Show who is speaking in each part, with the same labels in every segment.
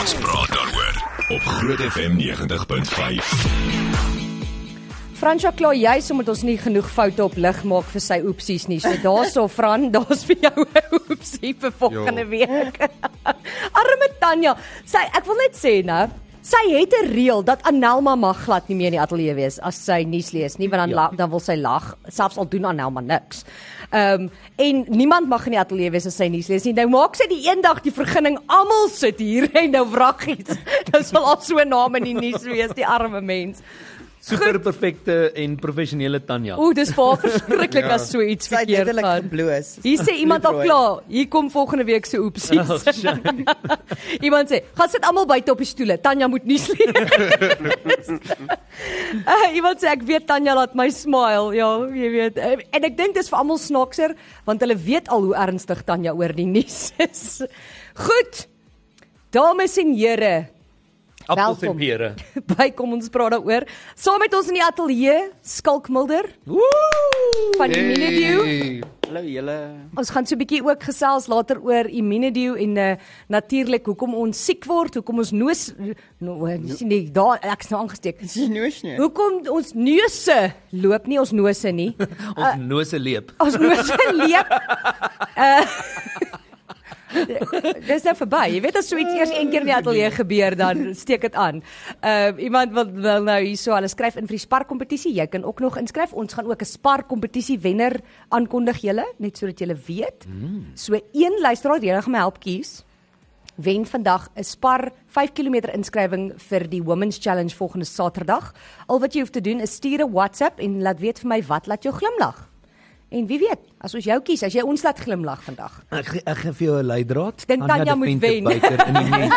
Speaker 1: Ons praat daaroor op Groot FM 90.5.
Speaker 2: Fransja kla juis omdat ons nie genoeg foute op lig maak vir sy oepsies nie. So daarso Fran, daar's vir jou 'n oepsie vir volgende
Speaker 3: Jo.
Speaker 2: week. Arme Tanya, sy ek wil net sê nou, sy het 'n reël dat Anelma mag glad nie meer in die ateljee wees as sy nuus lees nie, want dan ja. dan wil sy lag, selfs al doen Anelma niks. Ehm um, en niemand mag in die ateljee wees as sy nuus lees nie. Nou maak sy die eendag die vergunning almal sit hier en nou wraggies. Nou sal al so name in die nuus wees, die arme mens.
Speaker 4: Super perfekte en professionele Tanya.
Speaker 2: Ooh, dis vir haar verskriklik as so iets
Speaker 3: Sy het
Speaker 2: verkeerd
Speaker 3: letterlik
Speaker 2: gaan.
Speaker 3: gebloos.
Speaker 2: Hier sê iemand al
Speaker 3: Bloedrooi.
Speaker 2: klaar, hier kom volgende week se
Speaker 4: Oh,
Speaker 2: oepsies. iemand sê, "Gaan sit almal buite op die stoele. Tanya moet nie sleep." uh, iemand sê ek weet Tanya laat my smile. Ja, jy weet. Eh, En ek dink dis vir almal snaakser want hulle weet al hoe ernstig Tanya oor die nuus is. Goed. Dames en here,
Speaker 4: Appels
Speaker 2: welkom.
Speaker 4: en pere.
Speaker 2: by kom ons praat daaroor. Saam met ons in die ateljee, Skalk Mulder
Speaker 4: Woe!
Speaker 2: van hey. Minedew.
Speaker 3: Hallo julle.
Speaker 2: Ons gaan so 'n bietjie ook gesels later oor Immunedew en uh, natuurlik hoekom ons siek word, hoekom ons noos no, eh, sien nie daar ek's nou aangesteek.
Speaker 3: Dis
Speaker 5: Ja.
Speaker 3: noosne.
Speaker 2: Hoekom ons neuse loop nie ons nose nie. Uh,
Speaker 4: Ons nose leep.
Speaker 2: Ons nose leep. Uh, dis nou verby. Jy weet as so iets eers een keer in die ateljee gebeur dan steek dit aan. Ehm uh, iemand wil wil nou hierso hulle skryf in vir die spar kompetisie. Jy kan ook nog inskryf. Ons gaan ook 'n spar kompetisie wenner aankondig julle, net sodat julle weet. So een luisteraar, jy gaan my help kies. Wen vandag 'n spar 5 km inskrywing vir die Women's Challenge volgende Saterdag. Al wat jy hoef te doen is stuur 'n WhatsApp en laat weet vir my wat laat jou glimlag. En wie weet, as ons jou kies, as jy ons laat glimlag vandag.
Speaker 4: Ek ge- ek gee vir jou 'n leidraad.
Speaker 2: Dink
Speaker 4: Anna
Speaker 2: Tanya
Speaker 4: de
Speaker 2: moet
Speaker 4: Venter
Speaker 2: wen.
Speaker 4: buiter in die mens.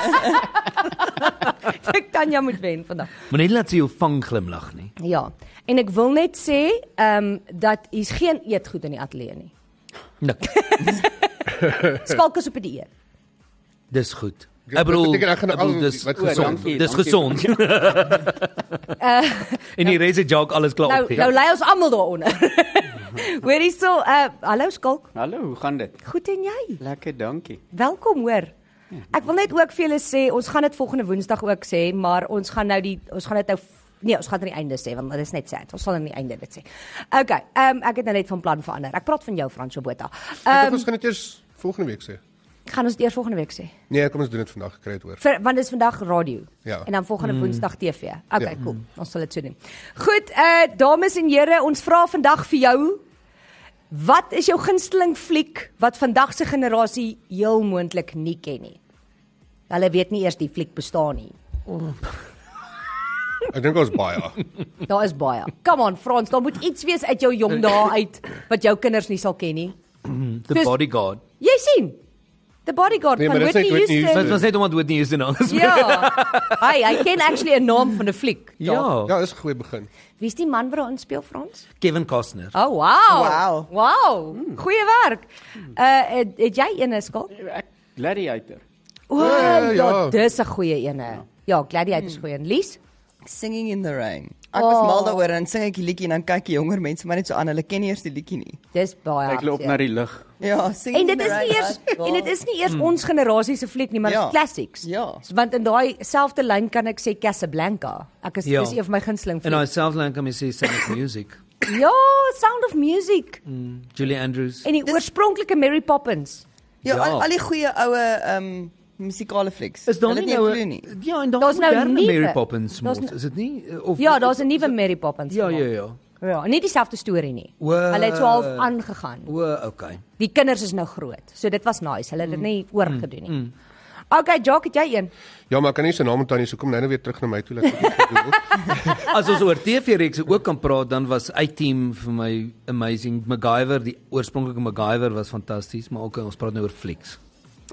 Speaker 2: Ek Tanya moet wen vandag.
Speaker 4: Moenie laat sy jou vang glimlag nie.
Speaker 2: Ja. En ek wil net sê, ehm um, dat hier's geen eetgoed in die ateljee nie.
Speaker 4: Nik.
Speaker 2: Skalk is op 'n dieet.
Speaker 4: Dis goed.
Speaker 6: Ja,
Speaker 4: Ek bedoel,
Speaker 6: dit beteken ek
Speaker 4: ek
Speaker 6: gaan
Speaker 4: bedoel
Speaker 6: al-
Speaker 4: dis
Speaker 6: wat
Speaker 4: gesond.
Speaker 3: dankie,
Speaker 4: Dis
Speaker 3: dankie.
Speaker 4: gesond. En die res het Jacques alles klaar
Speaker 2: Uh, Nou nou
Speaker 4: opgegee.
Speaker 2: lei ons almal daaronder. Hoor hierso, uh hallo Skalk.
Speaker 3: Hallo, hoe gaan dit?
Speaker 2: Goed en jy?
Speaker 3: Lekker, dankie.
Speaker 2: Welkom hoor. Ek wil net ook vir julle sê, ons gaan dit volgende Woensdag ook sê, maar ons gaan nou die ons gaan dit nou Nee, ons gaan dit aan die einde sê want dit is net sad. Ons sal aan die einde dit sê. Okay, ehm um, ek het nou net van plan verander. Ek praat van jou Fransjo Botha.
Speaker 6: Ek
Speaker 2: Ehm
Speaker 6: dink
Speaker 2: um,
Speaker 6: ons gaan dit eers volgende week sê.
Speaker 2: gaan ons dit eers volgende week sê.
Speaker 6: Nee, kom ons doen dit vandag, kry dit hoor.
Speaker 2: Vir, want dis vandag radio.
Speaker 6: Ja.
Speaker 2: En dan volgende mm. Woensdag TV. Okay, ja.
Speaker 6: Ja.
Speaker 2: cool. Ons sal dit so doen. Goed, eh uh, dames en here, ons vra vandag vir jou wat is jou gunsteling fliek wat vandag se generasie heel moontlik nie ken nie. Hulle weet nie eers die fliek bestaan nie.
Speaker 6: Ek dink ons baie.
Speaker 2: Daar is baie. Come on, Frans, daar moet iets wees uit jou jong dae uit wat jou kinders nie sal ken nie.
Speaker 4: The
Speaker 2: dis-
Speaker 4: bodyguard.
Speaker 2: Jy sien. The Bodyguard
Speaker 6: Nee,
Speaker 2: van
Speaker 6: maar dit is
Speaker 2: Whitney
Speaker 6: net Whitney
Speaker 2: Houston.
Speaker 4: Dit was net omdat Whitney Houston ons.
Speaker 2: Ja. Hy, hy ken actually 'n naam van 'n fliek.
Speaker 4: Ja,
Speaker 6: Ja, dis 'n goeie begin.
Speaker 2: Wie's die man wat daarin speel, Frans?
Speaker 4: Kevin Costner.
Speaker 2: Oh wow.
Speaker 3: Wow.
Speaker 2: Wow. Goeie werk. Uh het, het jy eene skaal?
Speaker 3: Ek Gladiator.
Speaker 2: O,
Speaker 6: Ja, ja,
Speaker 2: ja,
Speaker 6: ja.
Speaker 2: dis 'n goeie eene. Ja, Gladiator is goeie. en Lies?
Speaker 3: Singing in the Rain. Ek was
Speaker 2: Oh.
Speaker 3: mal daaroor en dan sing ek die liedjie en dan kyk die jonger mense maar net so aan, hulle ken nie eers die liedjie nie.
Speaker 2: Dis baie.
Speaker 5: Ek loop
Speaker 2: hartseer.
Speaker 5: na die lig.
Speaker 3: Ja, sing
Speaker 2: En dit is nie eers en dit is nie eers
Speaker 4: Hmm.
Speaker 2: ons generasie se fliek nie, maar dit
Speaker 3: Ja.
Speaker 2: is classics.
Speaker 3: Ja.
Speaker 2: Want in daai selfde lyn kan ek sê Casablanca. Ek is
Speaker 4: Ja.
Speaker 2: dis een van my gunsteling
Speaker 4: En I
Speaker 2: flieks.
Speaker 4: sound like I'm see some music.
Speaker 2: Ja, Sound of Music
Speaker 4: Hmm. Julie Andrews.
Speaker 2: en die oorspronklike Mary Poppins.
Speaker 3: Ja,
Speaker 4: Ja.
Speaker 3: al, al die goeie oue ehm um, musikale flieks.
Speaker 4: Is daar
Speaker 3: Hulle
Speaker 4: nie
Speaker 3: het
Speaker 4: nou
Speaker 3: nie
Speaker 4: 'n-
Speaker 3: nie.
Speaker 4: Ja, en daar
Speaker 2: Daar's
Speaker 4: is
Speaker 2: nou
Speaker 4: moderne
Speaker 2: nuwe-
Speaker 4: Mary Poppins
Speaker 2: daar's
Speaker 4: mos,
Speaker 2: nou-
Speaker 4: is dit nie of
Speaker 2: Ja, daar's 'n nuwe Mary Poppins.
Speaker 4: Ja,
Speaker 2: gemaak.
Speaker 4: ja, ja.
Speaker 2: Ja, en nie dieselfde storie nie.
Speaker 4: O.
Speaker 2: Hulle het so half aangegaan.
Speaker 4: O, okay.
Speaker 2: Die kinders is nou groot. So dit was nice. Hulle het dit
Speaker 4: Mm.
Speaker 2: nie oorgedoen nie. Okay, Jock, het jy een?
Speaker 6: Ja, maar ek kan nie se naam onthou nie, so kom nou nou weer terug na my toe laat ek dit doen.
Speaker 4: As ons oor TV-reekse ook kan praat, dan was A-Team vir my amazing. MacGyver, die oorspronklike MacGyver was fantasties, maar ook ons praat nou oor flieks.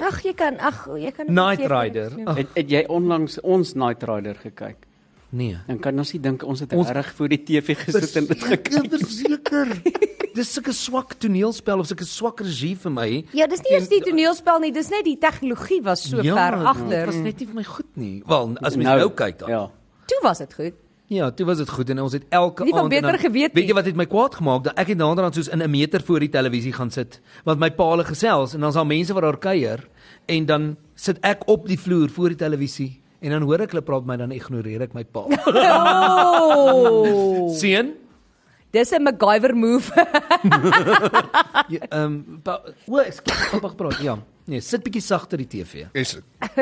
Speaker 2: Ag, jy kan ag, jy kan
Speaker 4: Knight Rider. Ag,
Speaker 5: Het, het jy onlangs ons Night Rider gekyk?
Speaker 4: nee.
Speaker 5: Dan kan ons nie dink ons het
Speaker 4: Ons-
Speaker 5: reg voor die TV gesit en dit gekyk.
Speaker 4: verseker. Ja, Dis sulke swak toneelspel of sulke swak regie vir my.
Speaker 2: Ja, dis nie eers die toneelspel nie, dis net die tegnologie was so ja, ver
Speaker 4: Dit
Speaker 2: agter.
Speaker 4: was net nie vir my goed nie. Wel, as mens nou, nou kyk dan.
Speaker 5: Ja.
Speaker 2: Toe was dit goed.
Speaker 4: Ja, toe was dit goed en ons het elke
Speaker 2: Nie van
Speaker 4: aand en
Speaker 2: beter
Speaker 4: dan-
Speaker 2: geweet nie.
Speaker 4: Weet jy wat het my kwaad gemaak? Dat ek het naderhand soos in 'n meter voor die televisie gaan sit, want my paale gesels en dan is daar mense wat daar kuier en dan sit ek op die vloer voor die televisie en dan hoor ek hulle praat met my dan ignoreer ek my pa.
Speaker 2: Oh,
Speaker 4: Seun,
Speaker 2: dis 'n MacGyver move.
Speaker 4: ehm um, o, ek wag gepraat. Ja. Nee, sit bietjie sagter die TV.
Speaker 6: Is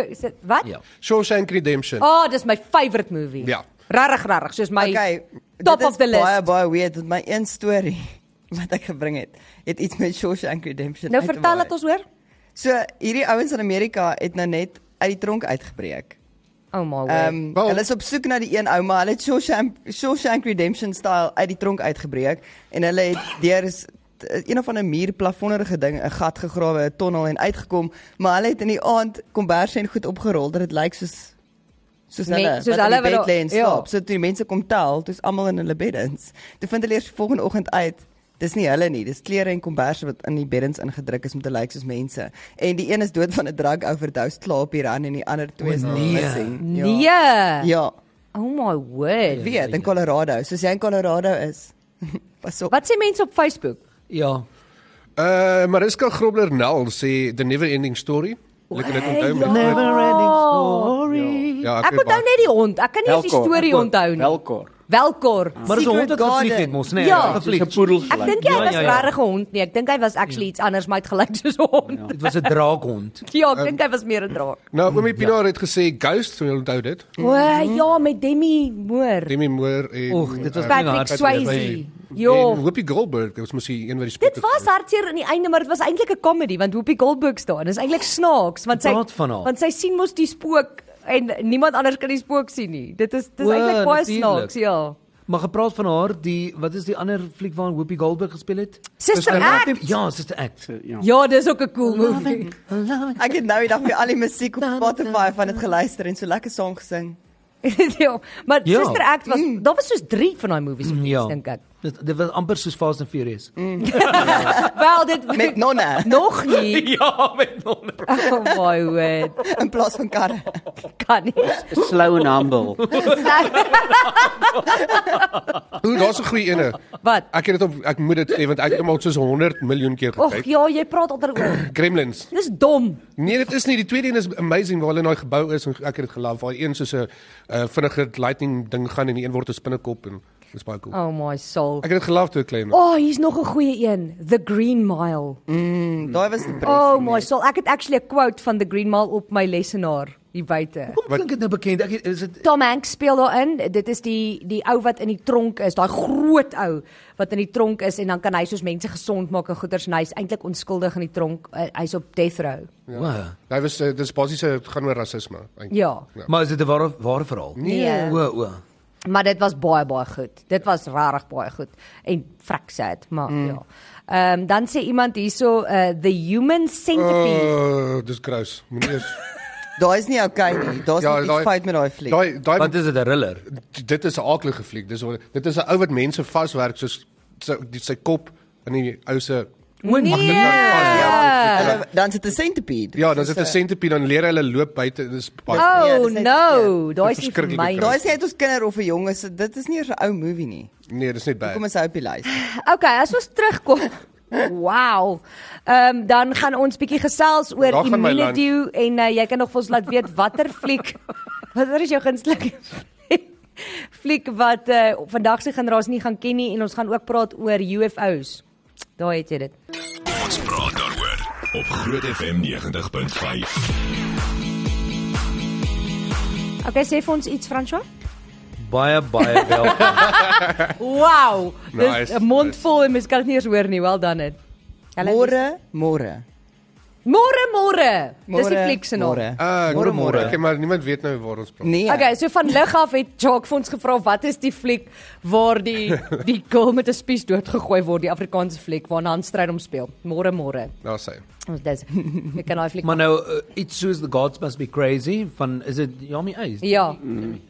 Speaker 2: Is dit wat?
Speaker 4: Ja.
Speaker 6: Shawshank Redemption.
Speaker 2: Oh, dis my favourite movie.
Speaker 6: Ja.
Speaker 2: Regtig, regtig, soos my
Speaker 3: Okay,
Speaker 2: top
Speaker 3: dit
Speaker 2: of the
Speaker 3: is
Speaker 2: list.
Speaker 3: Baie baie weird dat my een storie wat ek gebring het, het iets met Shawshank Redemption.
Speaker 2: nou
Speaker 3: uit te
Speaker 2: vertel
Speaker 3: maak.
Speaker 2: dit ons hoor.
Speaker 3: So hierdie ouens in Amerika het nou net uit die tronk uitgebreek.
Speaker 2: Oh my word.
Speaker 3: Ehm
Speaker 6: Wel-
Speaker 3: hulle is op soek na die een ou, maar hulle het Shawshank Shawshank Redemption style uit die tronk uitgebreek en hulle het deur is- t- een of ander muurplafonnerige ding 'n gat gegrawe, 'n tonnel en uitgekom, maar hulle het in die aand komberse en goed opgerol dat dit lyk soos soos
Speaker 2: Men-
Speaker 3: hulle
Speaker 2: soos
Speaker 3: wat in
Speaker 2: hulle
Speaker 3: die
Speaker 2: wat daar-
Speaker 3: bed lê en
Speaker 2: ja.
Speaker 3: slaap. Ja. So toe die mense kom tel, dis almal in hulle beddens. Toe vind hulle eers volgende oggend uit Dis nie hulle nie, dis klere en komberse wat in die beddens ingedruk is om te lyk soos mense. En die een is dood van 'n drug overdose klaap hier aan en die ander twee is
Speaker 4: O,
Speaker 3: nog
Speaker 4: nee.
Speaker 3: missing. Ja.
Speaker 2: nee.
Speaker 3: Ja,
Speaker 2: Oh my word.
Speaker 3: weet, in Colorado. Soos jy in Colorado is. Pas op.
Speaker 2: Wat sê mense op Facebook?
Speaker 4: Ja.
Speaker 6: Uh Mariska Grobler Nel sê The Never Ending Story. Ek kan dit
Speaker 2: ja.
Speaker 6: onthou met
Speaker 4: Never ending
Speaker 2: Oh.
Speaker 4: story.
Speaker 6: Ja,
Speaker 2: Ek
Speaker 6: weet
Speaker 2: onthou
Speaker 6: baie.
Speaker 2: net die hond. Ek kan nie eens die
Speaker 5: Welkor,
Speaker 2: storie
Speaker 5: welkor,
Speaker 2: onthou nie.
Speaker 5: welkor.
Speaker 2: Welkor.
Speaker 4: Maar dis 'n hond
Speaker 3: Secret
Speaker 4: wat gevlieg
Speaker 3: Garden.
Speaker 4: het mos, nee.
Speaker 2: Ja.
Speaker 4: hy het
Speaker 5: Soos 'n
Speaker 4: Gevlieg.
Speaker 5: poedel
Speaker 2: Ek
Speaker 5: gelyk.
Speaker 2: dink hy
Speaker 4: Ja,
Speaker 2: was
Speaker 4: ja, ja.
Speaker 2: regtig 'n hond nie. Ek dink hy was actually iets anders, maar hy het gelyk soos 'n hond.
Speaker 4: Dit was 'n draakhond.
Speaker 2: Ja, ek dink hy was meer 'n draak.
Speaker 6: Nou, Oomie Pinaar
Speaker 2: Ja.
Speaker 6: het gesê Ghost, so jy onthou dit.
Speaker 2: O ja, met Demi Moore.
Speaker 6: Demi Moore en
Speaker 4: Oeg, dit was
Speaker 6: uh,
Speaker 2: Patrick
Speaker 4: Patrick
Speaker 2: Swayze.
Speaker 6: Swayze. en
Speaker 2: Jo.
Speaker 6: Whoopi Goldberg, dit was mos die een wat die spook.
Speaker 2: Dit was hartseer aan die einde, maar dit was eintlik 'n komedie want Whoopi Goldberg staan. Dit is eintlik snaaks want sy
Speaker 4: Praat van haar.
Speaker 2: want sy sien mos die spook en niemand anders kan die spook sien nie. Dit is dit is
Speaker 4: O,
Speaker 2: eintlik baie
Speaker 4: natuurlik.
Speaker 2: snaaks, ja.
Speaker 4: Maar gepraat van haar, die wat is die ander fliek waarin Whoopi Goldberg gespeel het?
Speaker 2: Sister
Speaker 4: Sister
Speaker 2: Act.
Speaker 4: Act. Ja, Sister Act.
Speaker 5: Ja.
Speaker 2: Ja, dis ook 'n cool movie.
Speaker 3: Ek het nou die dag weer al die musiek op Spotify van dit geluister en so lekker saam gesing.
Speaker 2: ja, maar ja.
Speaker 4: Ja.
Speaker 2: Sister Act was daar was soos 3 van daai movies gewees,
Speaker 4: Ja.
Speaker 2: dink ek.
Speaker 4: Dit dit was amper soos Fast and Furious.
Speaker 2: Mm. Wel dit
Speaker 3: Met nonne
Speaker 2: nog nie.
Speaker 4: Ja, met hom.
Speaker 2: Oh my word.
Speaker 3: in plaas van karre.
Speaker 2: Kan nie.
Speaker 5: Slow and humble.
Speaker 2: Ja.
Speaker 6: Oeh, daar's 'n goeie ene.
Speaker 2: Wat?
Speaker 6: Ek het dit op ek moet dit sê want ek het hom al soos 100 miljoen keer
Speaker 2: Och
Speaker 6: gekyk.
Speaker 2: ja, jy praat altyd oor.
Speaker 6: Gremlins.
Speaker 2: Dis dom.
Speaker 6: Nee, dit is nie die tweede een is amazing waar hulle in daai gebou is en ek het dit gelief. Waar een soos 'n uh, vinnige lightning ding gaan en die een word 'n spinnekop en dis baie cool.
Speaker 2: Oh my soul.
Speaker 6: Ek het dit gelief toe ek klein was.
Speaker 2: O, oh, hier's nog 'n goeie een, The Green Mile.
Speaker 3: Mm, Daai was depressing.
Speaker 2: Oh my soul. Ek het actually 'n quote van The Green Mile op my lesenaar hier buite.
Speaker 4: Kom klink dit nou bekend. Ek is dit
Speaker 2: Tom Hanks speel daarin. Dit is die die ou wat in die tronk is, daai groot ou wat in die tronk is en dan kan hy soos mense gesond maak en goeters en hy's eintlik onskuldig in die tronk. Uh, hy's op death row.
Speaker 4: wow.
Speaker 3: Oh.
Speaker 6: Hy was uh, dis basies uh, dit gaan oor rasisme eintlik.
Speaker 2: Ja.
Speaker 4: Maar is dit 'n ware ware verhaal?
Speaker 2: Nee.
Speaker 4: O, o.
Speaker 2: Maar dit was baie baie goed. Dit was regtig baie goed en frik sad, maar mm. ja. Ehm um, dan sê iemand hierso uh, the human centipede.
Speaker 6: Uh, dis gross. Moenie eers
Speaker 3: Daai is nie okay nie. Daar's
Speaker 6: Ja,
Speaker 3: ja, iets
Speaker 6: daai-
Speaker 3: fout met daai fliek.
Speaker 6: Daai daai
Speaker 4: Wat is dit 'n thriller?
Speaker 6: dit is 'n aaklige fliek. Dis wat dit is 'n ou wat mense vaswerk soos sy, die- sy kop in die ou se
Speaker 4: O, nee.
Speaker 6: Ja.
Speaker 3: Hulle- Dan sit 'n centipede.
Speaker 6: Ja, dan sit 'n
Speaker 3: Soos 'n-
Speaker 6: sentipede dan leer hy hulle loop buite. Dis baie
Speaker 3: Ja,
Speaker 2: Oh
Speaker 3: dis net
Speaker 2: no, daai is nie vir
Speaker 6: Verskriklik
Speaker 2: my.
Speaker 6: kry.
Speaker 3: Daai is nie uit ons kinders of 'n jonges. so Dit is nie eers 'n ou movie nie.
Speaker 6: Nee, dis net
Speaker 3: Kom
Speaker 6: baie.
Speaker 3: ons hou op die lys.
Speaker 2: Okay, as ons terugkom. Wow. Ehm um, dan gaan ons bietjie gesels oor
Speaker 6: Daar gaan my land.
Speaker 2: Immunedew en uh, jy kan nog vir ons laat weet watter fliek watter is jou gunsteling fliek wat uh, vandag se generasie nie gaan ken nie en ons gaan ook praat oor UFO's. Daar het jy dit.
Speaker 1: Ons praat daaroor op Groot FM 90.5.
Speaker 2: Okay, sê vir ons iets François.
Speaker 4: Baie baie wel.
Speaker 2: Wow. Dis
Speaker 6: Nice,
Speaker 2: 'n mond vol en mens kan dit nie eens hoor nie. Wel dan dit.
Speaker 3: Môre, môre.
Speaker 2: Môre môre. Dis die
Speaker 3: Môre,
Speaker 2: fliek se naam.
Speaker 3: môre.
Speaker 6: Ah,
Speaker 3: Môre, môre.
Speaker 6: Okay, maar niemand weet nou waar ons praat.
Speaker 3: Nee.
Speaker 2: Okay, so van lig af het Jacques vir ons gevra wat is die fliek waar die die girl met 'n spies doodgegooi word, die Afrikaanse fliek waarna Hans Stryd hom speel. Môre môre.
Speaker 6: Daar's hy.
Speaker 2: Ons dis. Ek kan daai fliek.
Speaker 4: maar nou uh, iets soos The Gods Must Be Crazy van is dit Yami Eyes?
Speaker 2: Ja.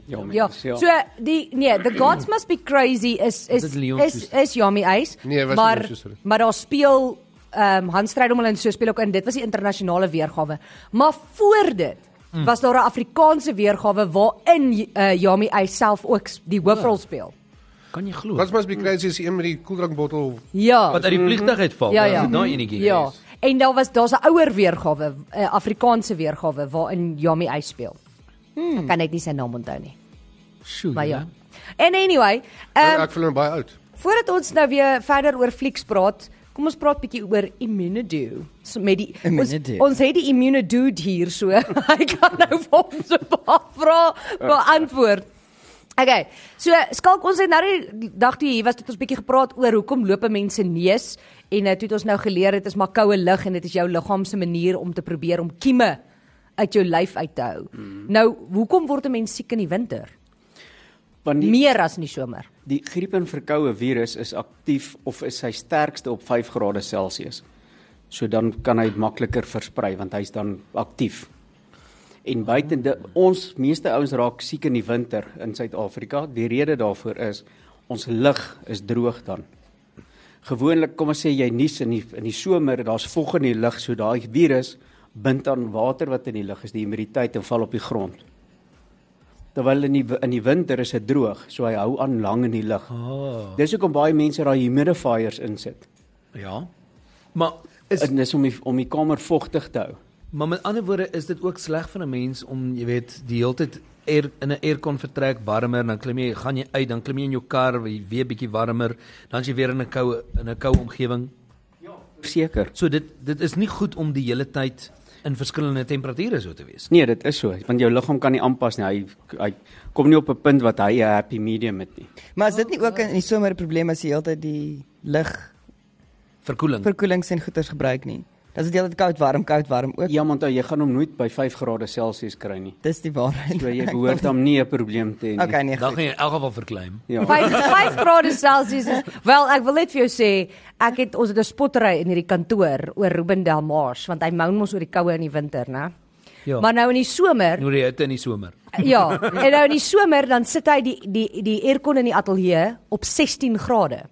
Speaker 5: Ja,
Speaker 2: Ja.
Speaker 5: mens,
Speaker 2: So die nee, The Gods Must Be Crazy is is
Speaker 4: Dit is Leon
Speaker 2: is
Speaker 4: Schuster.
Speaker 2: is Jamie Eis.
Speaker 6: Nee, was
Speaker 2: maar
Speaker 6: Leon Schuster.
Speaker 2: maar daar speel ehm um, Hans Stryd hom hulle in so speel ook in. Dit was die internasionale weergawe. Maar voor dit was daar 'n Afrikaanse weergawe waarin uh, Jamie Eis self ook s- die hoofrol speel.
Speaker 4: Kan jy glo?
Speaker 6: Wat mos be crazy is die een met die koeldrankbottel.
Speaker 2: Ja.
Speaker 4: Wat uit die vliegtuig uitval?
Speaker 2: Ja ja.
Speaker 4: Daai nou enetjie.
Speaker 2: Ja.
Speaker 4: is.
Speaker 2: En daar was daar's 'n ouer weergawe, 'n Afrikaanse weergawe waarin Yami Ice speel. Hmm. Ek kan net nie sy naam onthou nie,
Speaker 4: Sjoe.
Speaker 2: maar ja. En anyway, ehm um,
Speaker 6: Ek voel hom baie oud.
Speaker 2: voordat ons nou weer verder oor flieks praat, kom ons praat bietjie oor Immunedo. So met die ons,
Speaker 3: Immunedo.
Speaker 2: ons het die Immunedo hier so. Hy kan nou vir ons 'n paar vrae beantwoord. Okay. So skalk ons het nou die dag toe jy hier was het ons bietjie gepraat oor hoekom loop 'n mens se neus en uh, toe het ons nou geleer dit is maar koue lug en dit is jou liggaam se manier om te probeer om kieme uit jou lyf uit te hou. Mm. Nou, hoekom word 'n mens siek in die winter?
Speaker 5: Want die,
Speaker 2: Meer as in die somer.
Speaker 5: die griep en verkoue virus is aktief of is sy sterkste op 5 grade Celsius. So dan kan hy makliker versprei want hy's dan aktief. En buite di- ons meeste ouens raak siek in die winter in Suid-Afrika. Die rede daarvoor is ons lug is droog dan. Gewoonlik kom ons sê jy nies in die in die somer, daar's vog in die lug, so daai virus bind aan water wat in die lug is, die humiditeit en val op die grond. Terwyl in die w- in die winter is dit droog, so hy hou aan lank in die lug. Oh. Dis hoekom baie mense daai humidifiers insit.
Speaker 4: Ja. Maar is
Speaker 5: Is, en dis om die, om die kamer vochtig te hou.
Speaker 4: Maar met ander woorde is dit ook sleg vir 'n mens om jy weet die hele tyd air in 'n aircon vertrek warmer dan klim jy gaan jy uit dan klim jy in jou kar jy weer bietjie warmer dan is jy weer in 'n koue in 'n koue omgewing.
Speaker 5: Seker.
Speaker 4: So dit dit is nie goed om die hele tyd in verskillende temperature so te wees.
Speaker 5: Nee, dit is so, want jou liggaam kan nie aanpas nie. Hy hy kom nie op 'n punt wat hy 'n happy medium het nie.
Speaker 3: Maar is dit nie ook in in die somer 'n probleem as jy heeltyd die lig
Speaker 4: Verkoeling.
Speaker 3: verkoelings en goeters gebruik nie? Dat is dit heeltyd koud, warm, koud, warm ook.
Speaker 5: Ja, want jy gaan hom nooit by 5 grade Celsius kry nie.
Speaker 3: Dis die waarheid.
Speaker 5: So jy behoort hom nie 'n probleem te hê nie.
Speaker 3: Okay, nee.
Speaker 4: Dan
Speaker 3: Goed.
Speaker 4: gaan jy in elk geval verkleim.
Speaker 5: Ja.
Speaker 2: 5 5 grade Celsius is wel ek wil net vir jou sê ek het ons het 'n spottery in hierdie kantoor oor Ruben Delmars want hy moun mos oor die koue in die winter, né?
Speaker 4: Ja.
Speaker 2: Maar nou in die somer,
Speaker 4: Nou die hitte in die somer.
Speaker 2: ja, en nou in die somer dan sit hy die die die aircon in die ateljee op 16 grade.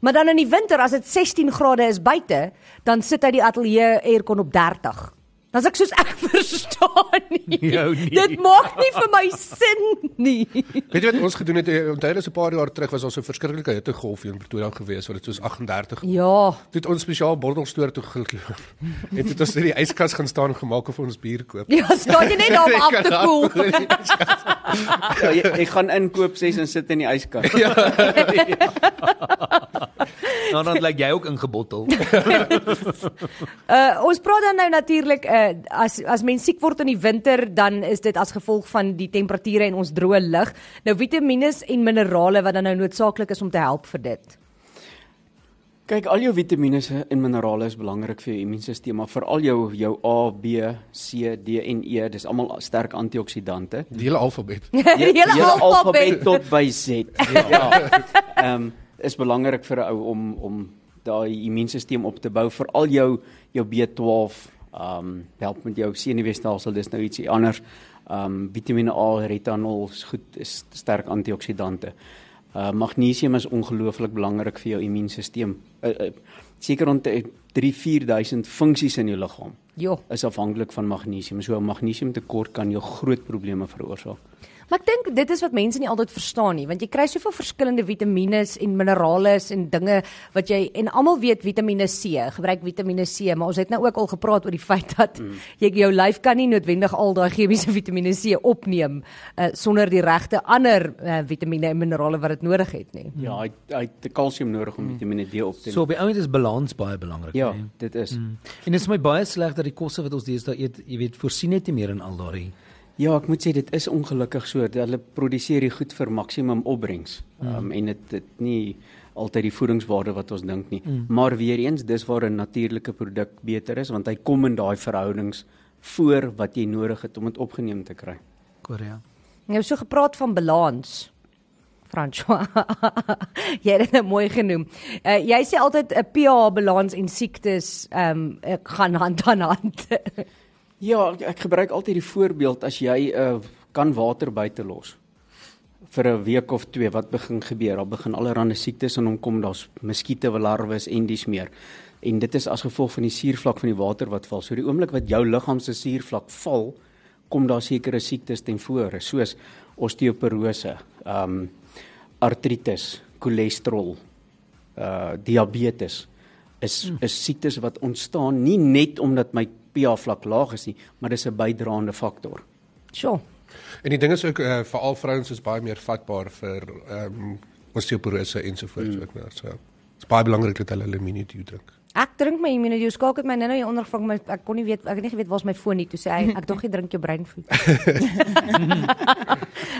Speaker 2: Maar dan in die winter as dit 16 grade is buite, dan sit hy die ateljee aircon op 30. Dan sê ek soos ek verstaan nie.
Speaker 4: Jou nie.
Speaker 2: Dit maak nie vir my sin nie.
Speaker 6: Weet jy wat ons gedoen het? eh, Onthou dis 'n paar jaar terug was ons 'n verskriklike hittegolf hier in Pretoria gewees wat dit soos 38
Speaker 2: Ja.
Speaker 6: Toe het ons spesiaal bottelstoor toe geloop. En toe het ons in die yskas gaan staan gemaak of ons bier koop.
Speaker 2: Ja, staan jy net daar om af te koel.
Speaker 5: Ja, jy, jy gaan inkoop 6 en sit in die yskas.
Speaker 4: Nou dan lyk jy ook ingebottel.
Speaker 2: Uh ons praat dan nou natuurlik uh as as mens siek word in die winter dan is dit as gevolg van die temperature en ons droë lug. Nou vitamiene en minerale wat dan nou noodsaaklik is om te help vir dit.
Speaker 5: Kyk, al jou vitamiene en minerale is belangrik vir jou immuunstelsel, maar veral jou jou A, B, C, D en E, dis almal sterk antioksidante.
Speaker 6: Die hele alfabet.
Speaker 2: die hele alfabet.
Speaker 5: tot by Z. Ja. Ehm is belangrik vir 'n ou om om daai immuunstelsel op te bou, veral jou jou B12, ehm help met jou senuweestelsel, dis nou ietsie anders. Ehm Vitamiene A, retinol is goed, is sterk antioksidante. Uh magnesium is ongelooflik belangrik vir jou immuunstelsel. Uh, uh, Seker rond 3-4000 funksies in jou liggaam
Speaker 2: Jo.
Speaker 5: is afhanklik van magnesium. So 'n magnesiumtekort kan jou groot probleme veroorsaak.
Speaker 2: Maar ek dink dit is wat mense nie altyd verstaan nie, want jy kry soveel verskillende vitamiene en minerale en dinge wat jy en almal weet Vitamiene C, gebruik Vitamiene C, maar ons het nou ook al gepraat oor die feit dat mm. jy jou lyf kan nie noodwendig al daai chemiese Vitamiene C opneem uh, sonder die regte ander uh, vitamiene en minerale wat dit nodig het nie.
Speaker 5: Ja, hy hy het kalsium nodig om Vitamiene D op te
Speaker 4: Mm.
Speaker 5: neem.
Speaker 4: So op die ouend is balans baie belangrik.
Speaker 5: ja,
Speaker 4: nee?
Speaker 5: dit is.
Speaker 4: Mm. En dit is my baie sleg dat die kosse wat ons deesdae eet, jy weet, voorsien net nie meer in al daardie
Speaker 5: Ja, ek moet sê dit is ongelukkig so. dat Hulle produseer die goed vir maksimum opbrengs.
Speaker 4: Mm.
Speaker 5: Ehm um, en dit dit nie altyd die voedingswaarde wat ons dink nie. Mm. Maar weer eens, dis waar 'n natuurlike produk beter is want hy kom in daai verhoudings voor wat jy nodig het om dit opgeneem te kry.
Speaker 4: Korea.
Speaker 2: Nou so gepraat van balans. François. jy het dit nou mooi genoem. Uh, jy sê altyd 'n pH balans en siektes ehm um, gaan hand aan hand.
Speaker 5: Ja, ek- ek gebruik altyd die voorbeeld as jy 'n uh, kan water buite los vir 'n week of twee wat begin gebeur. Daar begin allerlei siektes aan hom kom. Daar's muskiete, larwes en dis meer. En dit is as gevolg van die suurvlak van die water wat val. So die oomblik wat jou liggaam se suurvlak val, kom daar sekere siektes ten vore, soos osteoporose, ehm um, artritis, cholesterol, uh eh, diabetes is is siektes wat ontstaan nie net omdat my pH vlak laag is nie, maar dis 'n bydraende faktor.
Speaker 2: Sjoe.
Speaker 6: En die ding is ook uh, veral vrouens is baie meer vatbaar vir ehm um, osteoporose ensovoorts mm. ook nou. So dit's baie belangrik dat hulle hulle immuniteit drink.
Speaker 2: Ek drink my immunity. Jy skakel my nou nou hier onder gevang my ek kon nie weet ek het nie geweet waar's my foon nie. Toe sê hy ek dog jy drink jou breinvoed. ek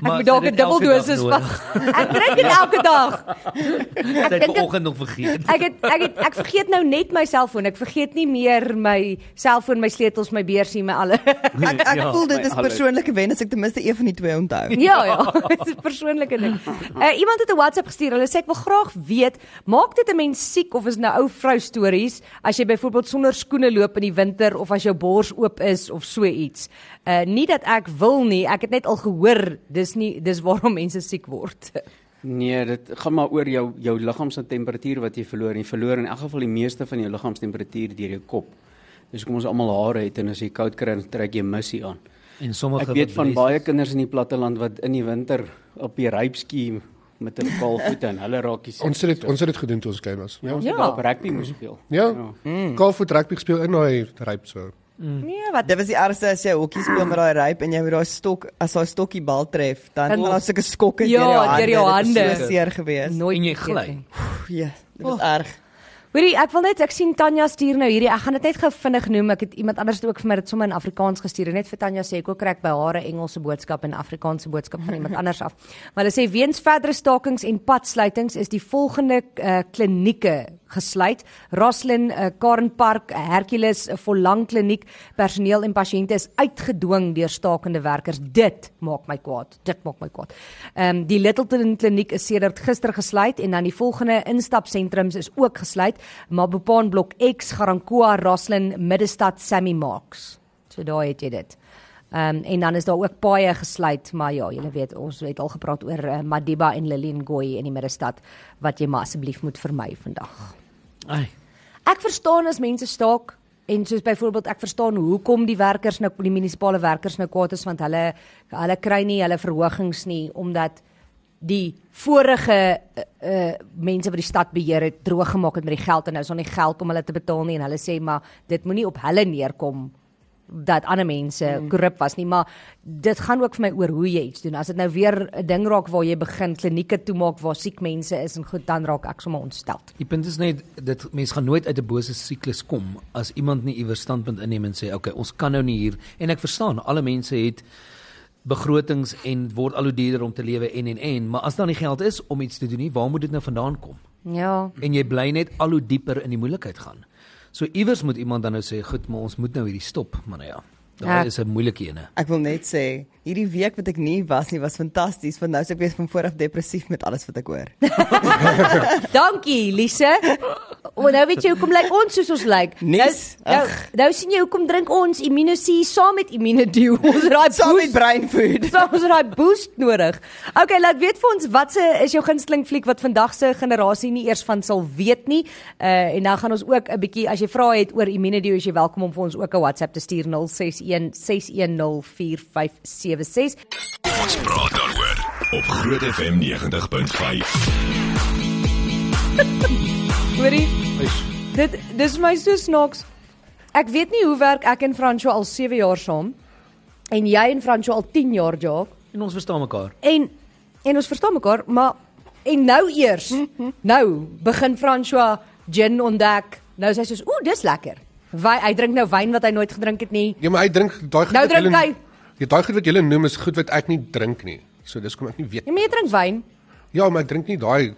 Speaker 4: Maar
Speaker 2: moet dalk
Speaker 4: sy
Speaker 2: 'n
Speaker 4: het elke
Speaker 2: dubbeldosis
Speaker 4: dag
Speaker 2: vat. Ek drink dit elke dag.
Speaker 4: Sy het
Speaker 2: dink dit-
Speaker 4: vanoggend nog vergeet.
Speaker 2: Ek het ek het ek vergeet nou net my selfoon. Ek vergeet nie meer my selfoon, my sleutels, my beursie, my alles.
Speaker 3: Ek ek
Speaker 4: Ja,
Speaker 3: ja, voel dit
Speaker 5: my
Speaker 3: is
Speaker 5: alles.
Speaker 3: persoonlike wen as ek ten minste een van die twee onthou.
Speaker 2: Ja ja, dit is 'n persoonlike ding. Uh, iemand het 'n WhatsApp gestuur. Hulle sê ek wil graag weet, maak dit 'n mens siek of is dit nou ou vrou stories as jy byvoorbeeld sonder skoene loop in die winter of as jou bors oop is of so iets. Uh nie dat ek wil nie, ek het net al gehoor dis nie dis waarom mense siek word.
Speaker 5: Nee, dit gaan maar oor jou jou liggaam se temperatuur wat jy verloor. En Jy verloor in elk geval die meeste van jou liggaamstemperatuur deur jou kop. Dis hoekom ons almal hare het en as jy koud kry, dan trek jy missie aan.
Speaker 4: En sommige
Speaker 5: Ek weet
Speaker 4: wat
Speaker 5: van
Speaker 4: bless-
Speaker 5: baie kinders in die platteland wat in die winter op die rypskie met 'n kaal voet en hulle raak siek.
Speaker 6: Ons het dit ons het dit gedoen toe ons klein was. Ja.
Speaker 5: ons
Speaker 2: Ja.
Speaker 5: ja. op rugby moes speel.
Speaker 6: Ja. Mm. Kaalvoet rugby speel in daai ryp so.
Speaker 2: Nee, wat
Speaker 3: Dit was die ergste as jy hokkie speel met daai ryp en jy met daai stok as daai stokkie bal tref, dan
Speaker 2: Dan-
Speaker 3: gaan daar sulke skokke
Speaker 2: Ja,
Speaker 3: deur jou hande. Dit
Speaker 2: hande.
Speaker 3: was so seer gewees.
Speaker 2: nooit
Speaker 4: en jy
Speaker 2: vergeet
Speaker 4: gly.
Speaker 2: nie.
Speaker 3: Pff, Ja, dit was erg.
Speaker 2: Hoorie, ek wil net ek sien Tanya stuur nou hierdie. Ek gaan dit net gou vinnig noem. Ek het iemand anders het ook vir my dit sommer in Afrikaans gestuur. En net vir Tanya sê ek ook kry ek by haar 'n Engelse boodskap en 'n Afrikaanse boodskap van iemand anders af. Maar hulle sê weens verdere stakings en padsluitings is die volgende uh, klinieke gesluit. Roslyn, uh, Karen Park, Hercules, 'n vollang kliniek. Personeel en pasiënte is uitgedwing deur stakende werkers. Dit maak my kwaad. Dit maak my kwaad. Ehm um, die Littleton kliniek is sedert gister gesluit en dan die volgende instapsentrums is ook gesluit, Mabopane blok X, Garankuwa, Roslyn, Middestad, Sammy Marks. So daar het jy dit. Ehm um, en dan is daar ook paaie gesluit, maar ja, julle weet ons het al gepraat oor uh, Madiba en Lilengoi in die middestad wat jy maar asseblief moet vermy vandag.
Speaker 4: Ai.
Speaker 2: Ek verstaan as mense staak en soos byvoorbeeld ek verstaan hoekom die werkers nou die munisipale werkers nou kwaad is want hulle hulle kry nie hulle verhogings nie omdat die vorige uh, uh mense wat die stad beheer het droog gemaak het met die geld en nou is daar nie geld om hulle te betaal nie en hulle sê maar dit moenie op hulle neerkom dat ander mense korrup was nie, maar dit gaan ook vir my oor hoe jy iets doen. As dit nou weer 'n ding raak waar jy begin klinieke toemaak waar siek mense is en goed, dan raak ek sommer ontstel.
Speaker 4: Die punt is net dit mense gaan nooit uit 'n bose siklus kom as iemand nie iewers standpunt inneem en sê okay, ons kan nou nie hier en ek verstaan, alle mense het begrotings en word al hoe duurder om te lewe en en en, maar as daar nie geld is om iets te doen nie, waar moet dit nou vandaan kom?
Speaker 2: Ja.
Speaker 4: En jy bly net al hoe dieper in die moeilikheid gaan. So iewers moet iemand dan nou sê, "Goed, maar ons moet nou hierdie stop." Maar nou ja, daar
Speaker 2: Ek-
Speaker 4: is 'n moeilike ene.
Speaker 3: Ek wil net sê, hierdie week wat ek nie was nie, was fantasties want nou is ek weer van vooraf depressief met alles wat ek hoor.
Speaker 2: Dankie Lise. O, nou weet jy hoekom lyk like ons soos ons lyk. Like.
Speaker 3: Niks.
Speaker 2: Nou, nou, nou sien jy hoekom drink ons Immunosie saam met Immunodew. Ons het daai
Speaker 3: Saam met
Speaker 2: boost,
Speaker 3: brain food.
Speaker 2: saam ons het daai boost nodig. Okay, laat weet vir ons watse is jou gunsteling fliek wat vandag se generasie nie eers van sal weet nie. Uh en dan gaan ons ook 'n bietjie as jy vrae het oor Immunodew, is jy welkom om vir ons ook 'n WhatsApp te stuur 061 610 4576.
Speaker 1: Ons praat daaroor op Groot FM 90.5.
Speaker 2: Hoorie. Dit dis my so snaaks. Ek weet nie hoe werk ek en Franco al 7 jaar saam en jy en Franco al 10 jaar Jacques
Speaker 4: En ons verstaan mekaar.
Speaker 2: en en ons verstaan mekaar, maar en nou eers nou begin Francois gin ontdek. Nou is hy soos ooh, dis lekker. Wy, hy drink nou wyn wat hy nooit gedrink het nie.
Speaker 6: Ja, maar hy drink daai goed
Speaker 2: Nou
Speaker 6: wat
Speaker 2: drink
Speaker 6: julle-
Speaker 2: hy.
Speaker 6: Ja, daai goed wat julle noem is goed wat ek nie drink nie. So dis kom ek nie weet.
Speaker 2: Jy moet drink wyn
Speaker 6: Ja, maar ek drink nie daai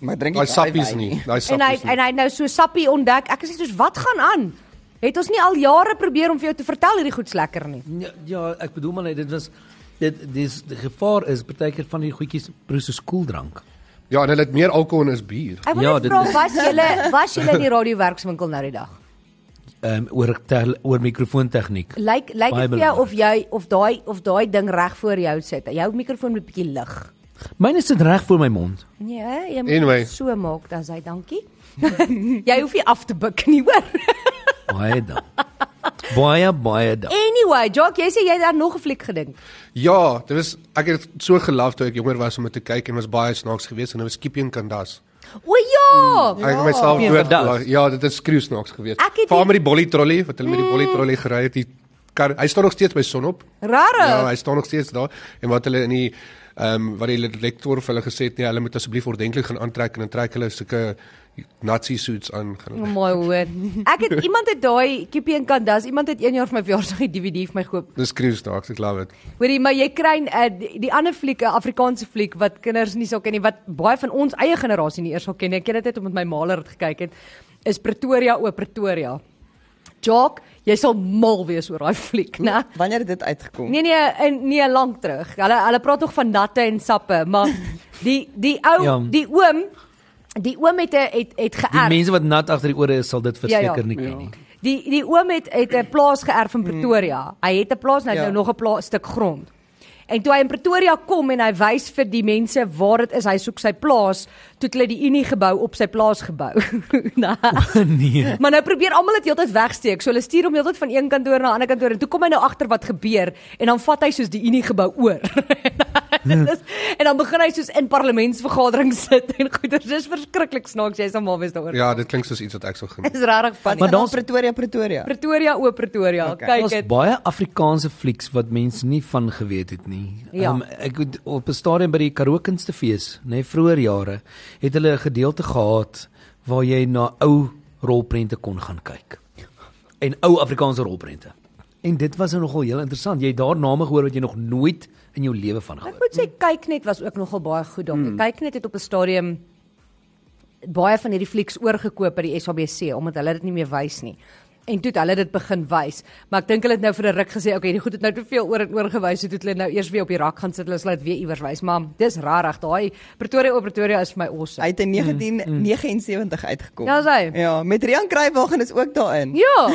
Speaker 3: Maar drink
Speaker 6: daai sappies nie. Daai
Speaker 2: en hy
Speaker 6: sappies nie.
Speaker 2: en hy het nou so sappie ontdek. Ek is net soos wat gaan aan? Het ons nie al jare probeer om vir jou te vertel hierdie goed's lekker nie?
Speaker 4: Ja, ja ek bedoel maar net, dit was dit dis die gevaar is baie keer van die goedjies proe so skooldrank.
Speaker 6: Ja, en hulle het meer alkohol in as bier.
Speaker 2: Ek wil
Speaker 4: Ja,
Speaker 2: ja,
Speaker 4: dit
Speaker 2: vra
Speaker 4: is-
Speaker 2: was julle was julle in die radiowerkswinkel nou die dag?
Speaker 4: ehm um, oor tel, oor mikrofoon tegniek.
Speaker 2: Lyk lyk
Speaker 4: Baie
Speaker 2: dit vir jou of jy of daai of daai ding reg voor jou sit. Jou mikrofoon moet bietjie lig.
Speaker 4: Myne sit reg voor my mond.
Speaker 2: Nee, hè, jy moet
Speaker 6: Anyway.
Speaker 2: anyway. so maak dan sê dankie. jy hoef nie af te buk nie, hoor.
Speaker 4: Baie dan. Baie baie dan.
Speaker 2: Anyway, Jock, jy sê jy het aan nog 'n fliek gedink.
Speaker 6: Ja, dit was ek het so gelief toe ek jonger was om dit te kyk en was baie snaaks geweest en dit was Kippie en Kandas.
Speaker 2: O ja.
Speaker 6: Hmm. Ek het myself
Speaker 4: Peter
Speaker 6: dood.
Speaker 4: Dust.
Speaker 6: Ja, dit is skreeusnaaks geweest.
Speaker 2: Ek het die-
Speaker 6: Veral
Speaker 2: Mm.
Speaker 6: met die bolly trolley, wat hulle met die bolly trolley gery het, die kar. Hy staan nog steeds by Sonop. Ja,
Speaker 2: Rarig.
Speaker 6: hy staan nog steeds daar en wat hulle in die ehm um, wat die lektor vir hulle gesê het, nee, hulle moet asseblief ordentlik gaan aantrek en dan trek hulle sulke Nazi suits aan.
Speaker 2: Oh,
Speaker 6: Gaan-
Speaker 2: mooi hoor. Ek het iemand het daai Kippie en Kandas, iemand het 1 jaar vir my verjaarsdag die DVD vir my gekoop.
Speaker 6: Dis skreeusnaaks, ek love it.
Speaker 2: Hoorie, maar jy kry uh, die, die ander fliek, 'n Afrikaanse fliek wat kinders nie sal ken nie, wat baie van ons eie generasie nie eers sal ken nie. Ek ken dit net omdat my maaler dit gekyk het. Is Pretoria o Pretoria. Jock, jy sal mal wees oor daai fliek, né?
Speaker 3: Wanneer het dit uitgekom?
Speaker 2: Nee nee, in, nee lank terug. Hulle hulle praat nog van natte en sappe, maar die die ou, ja.
Speaker 4: Ja.
Speaker 2: die oom, die oom het 'n- het het
Speaker 4: Die
Speaker 2: geërf.
Speaker 4: mense wat nat agter die ore is sal dit
Speaker 2: Ja, ja.
Speaker 4: verseker nie ken nie.
Speaker 2: Die die oom het het 'n plaas geërf in Pretoria. Hy het 'n plaas en hy het
Speaker 3: Ja.
Speaker 2: nou nog 'n pla- stuk grond. En toe hy in Pretoria kom en hy wys vir die mense waar dit is, hy soek sy plaas, toe het hulle die Unie gebou op sy plaas gebou. Na.
Speaker 4: nee.
Speaker 2: Maar nou probeer almal dit heeltyd wegsteek. So hulle stuur hom heeltyd van een kantoor na 'n ander kantoor en toe kom hy nou agter wat gebeur en dan vat hy soos die Unie gebou oor. en dis- en dan begin hy soos in parlementsvergaderings sit en goeie, dis verskriklik snaaks, jy sal mal wees daaroor.
Speaker 6: Ja, dit klink soos iets wat ek sou geniet.
Speaker 2: Dis regtig van
Speaker 3: Maar dan
Speaker 4: daar's-
Speaker 3: Pretoria Pretoria.
Speaker 2: Pretoria o Pretoria.
Speaker 3: Okay.
Speaker 2: Okay. Kyk
Speaker 4: Daar's
Speaker 2: dit.
Speaker 4: baie Afrikaanse flieks wat mense nie van geweet het nie.
Speaker 2: Ja.
Speaker 4: Um, ek het op 'n stadium by die Karoo Kunstefees, nê, nee, vroeër jare, het hulle 'n gedeelte gehad waar jy na ou rolprente kon gaan kyk. En ou Afrikaanse rolprente. En dit was nou nogal heel interessant. Jy het daar name gehoor wat jy nog nooit in jou lewe van gehoor
Speaker 2: Ek moet sê kyk net was ook nogal baie goed daar. Mm. Kyk net het op 'n stadium baie van hierdie flieks oorgekoop by die SABC omdat hulle dit nie meer wys nie. En toe het hulle dit begin wys, maar ek dink hulle het nou vir 'n ruk gesê, okay, die goed het nou te veel oor en oor gewys, so toe het hulle nou eers weer op die rak gaan sit, hulle sal dit weer iewers wys, maar dis rarig. Daai Pretoria o Pretoria is vir my awesome.
Speaker 3: Hy het in 1979 uitgekom.
Speaker 2: Mm, Ja, is hy?
Speaker 3: Ja, met Rian Kruiwagen is ook daarin.
Speaker 2: Ja,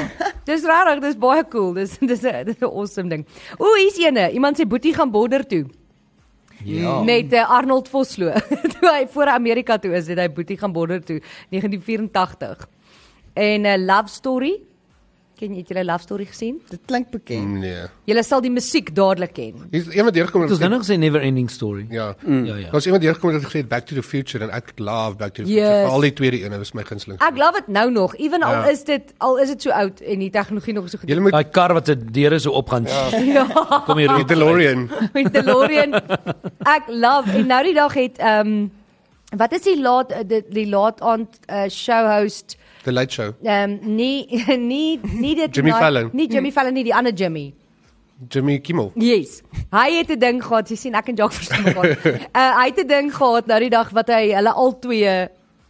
Speaker 2: dis rarig, dis baie cool. Dis dis 'n dis 'n awesome ding. O, hier's eene. Iemand sê Boetie gaan bodder toe.
Speaker 4: Ja.
Speaker 2: met uh, Arnold Vosloo. toe hy voor Amerika toe is, het hy Boetie gaan border toe 1984. En 'n uh, love story. Ken jy het julle love story gesien?
Speaker 3: Dit klink bekend.
Speaker 6: Nee.
Speaker 2: Julle sal die musiek dadelik ken.
Speaker 6: Hier's iemand deurgekom
Speaker 4: Dit is nou
Speaker 6: het
Speaker 4: nog gesê never ending story.
Speaker 6: Ja.
Speaker 4: Ja, ja.
Speaker 6: Daar's iemand deurgekom het gesê het Back to the Future en ek love Back to the Future.
Speaker 2: Yes.
Speaker 6: Yes. Al die tweede een was my gunsteling.
Speaker 2: Ek love dit nou nog, ewen ja. al
Speaker 6: Ja.
Speaker 2: is dit al is dit so oud en die tegnologie nog so goed.
Speaker 6: Jy moet
Speaker 4: Daai kar wat se deure so opgaan. Ja. Kom hier.
Speaker 6: die DeLorean.
Speaker 2: met DeLorean. Ek love en nou die dag het ehm um, wat is die laat die, die laat aand uh, show host
Speaker 6: The Late Show.
Speaker 2: ehm um, nie nie nie dit
Speaker 6: Jimmy Fallon.
Speaker 2: Nie Jimmy Fallon nie, die ander Jimmy.
Speaker 6: Jimmy Kimmel.
Speaker 2: Yes. Hy het 'n ding gehad, jy sien ek en Jacques verstaan mekaar. uh, hy het 'n ding gehad nou die dag wat hy hulle al twee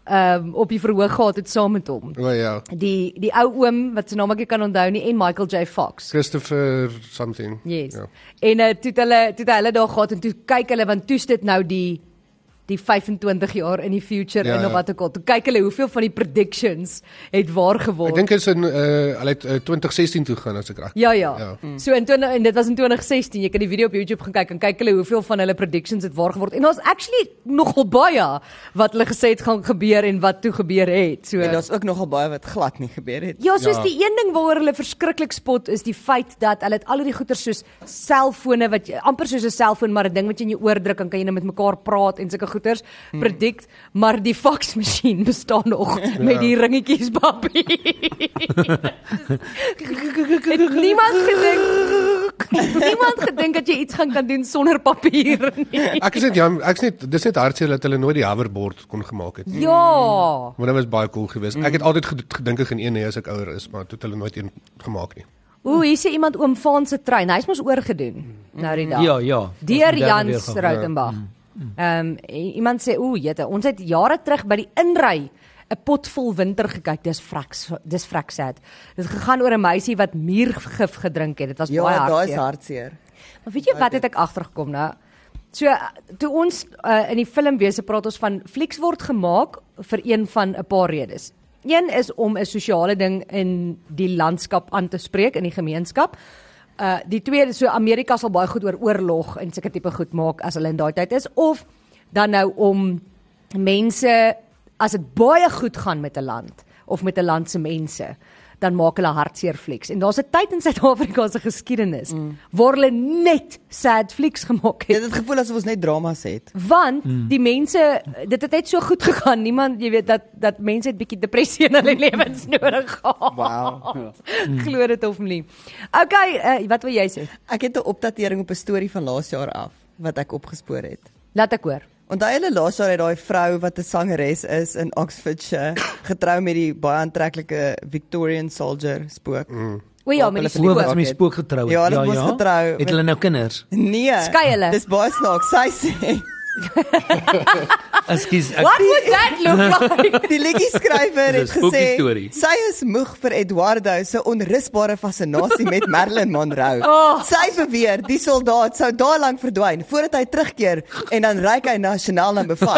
Speaker 2: um, op die verhoog gehad het saam met hom.
Speaker 6: O ja.
Speaker 2: Die die ou oom wat se naam ek nie kan onthou nie en Michael J Fox.
Speaker 6: Christopher something.
Speaker 2: Yes. Ja.
Speaker 6: Ja.
Speaker 2: En uh, toe het hulle toe het hulle daar gehad en toe kyk hulle want toe's dit nou die die 25 jaar in die future ja,
Speaker 6: Ja,
Speaker 2: en of
Speaker 6: ja.
Speaker 2: wat ook al. Toe kyk hulle hoeveel van die predictions het waar
Speaker 6: Ek
Speaker 2: geword.
Speaker 6: dink is in uh hulle het uh, 2016 toe gaan as ek reg.
Speaker 2: Ja ja.
Speaker 6: Ja.
Speaker 2: ja. So in 20 en dit was in 2016. Jy kan die video op YouTube gaan kyk en kyk hulle hoeveel van hulle predictions het waar geword. En daar's actually nogal baie wat hulle gesê het gaan gebeur en wat toe gebeur het. So
Speaker 3: En daar's ook nogal baie wat glad nie gebeur het.
Speaker 2: Ja, soos ja.
Speaker 6: Ja.
Speaker 2: die een ding waaroor hulle verskriklik spot is die feit dat hulle het al hierdie goeder soos selfone wat jy, amper soos 'n selfoon maar 'n ding wat jy in jou oor druk en kan jy nou met mekaar praat en sulke goeders hmm. predict, maar die faksmasjien bestaan nog ja. met die ringetjies papie. het niemand gedink niemand gedink dat jy iets gaan kan doen sonder papier nie.
Speaker 6: Ek is net jam, ek's net dis net hartseer dat hulle nooit die hoverboard kon gemaak het.
Speaker 2: Ja.
Speaker 6: Maar dit was baie cool geweest. Ek
Speaker 2: Mm.
Speaker 6: het altyd ged- gedink ek gaan een hê as ek ouer is, maar toe het hulle nooit een gemaak nie.
Speaker 2: Ooh, hier sien iemand oom Van se trein. Hy's mos oorgedoen nou die dag.
Speaker 4: Ja, ja.
Speaker 2: Deur
Speaker 4: Ons moet daarna weer
Speaker 2: Jans
Speaker 4: gaan.
Speaker 2: Rautenbach. Ehm um, iemand sê o, jete, ons het jare terug by die inry 'n pot vol winter gekyk. Dis vrek dis vrek sad. Dit gegaan oor 'n meisie wat muurgif gedrink het. Dit was baie
Speaker 3: Ja, daai
Speaker 2: hartseer.
Speaker 3: is hartseer.
Speaker 2: Maar weet jy wat het ek agtergekom nou? So toe ons uh, in die filmwese praat ons van flieks word gemaak vir een van 'n paar redes. Een is om 'n sosiale ding in die landskap aan te spreek in die gemeenskap. Uh die tweede so Amerika sal baie goed oor oorlog en sulke tipe goed maak as hulle in daai tyd is of dan nou om mense as dit baie goed gaan met 'n land of met 'n land se mense dan maak hulle hartseer flieks. En daar's 'n tyd in Suid-Afrika se geskiedenis
Speaker 3: Mm.
Speaker 2: waar hulle net sad flieks gemaak het.
Speaker 3: Dit het gevoel asof ons net dramas het.
Speaker 2: Want
Speaker 4: Mm.
Speaker 2: die mense dit het net so goed gegaan. Niemand, jy weet dat dat mense het bietjie depressie in hulle lewens nodig gehad.
Speaker 5: Wow.
Speaker 2: Glo dit of nie. Okay, uh, wat wil jy sê?
Speaker 3: Ek het 'n opdatering op 'n storie van laas jaar af wat ek opgespoor het.
Speaker 2: Laat ek hoor.
Speaker 3: Onthou hulle laas jaar het daai vrou wat 'n sangeres is in Oxfordshire getrou met die baie aantreklike Victorian soldier spook. Mm.
Speaker 2: O ja,
Speaker 3: Waar
Speaker 2: met die
Speaker 3: hulle
Speaker 4: Spook wat
Speaker 2: spook.
Speaker 4: met spook getrou het.
Speaker 3: Ja, hulle was getrou met-
Speaker 4: Het hulle nou kinders?
Speaker 3: Nee.
Speaker 2: Skei hulle.
Speaker 3: Dis baie snaaks. Sy sê
Speaker 4: Ekskuus, ek
Speaker 2: What would that look like?
Speaker 3: Die liedjie-skrywer
Speaker 4: Dis
Speaker 3: het
Speaker 4: 'n spooky
Speaker 3: gesê
Speaker 4: storie.
Speaker 3: sy is moeg vir Eduardo se onrusbare fascinasie met Marilyn Monroe.
Speaker 2: Oh.
Speaker 3: Sy beweer die soldaat sou daar lank verdwyn voordat hy terugkeer en dan ryk hy nasionaal number 5.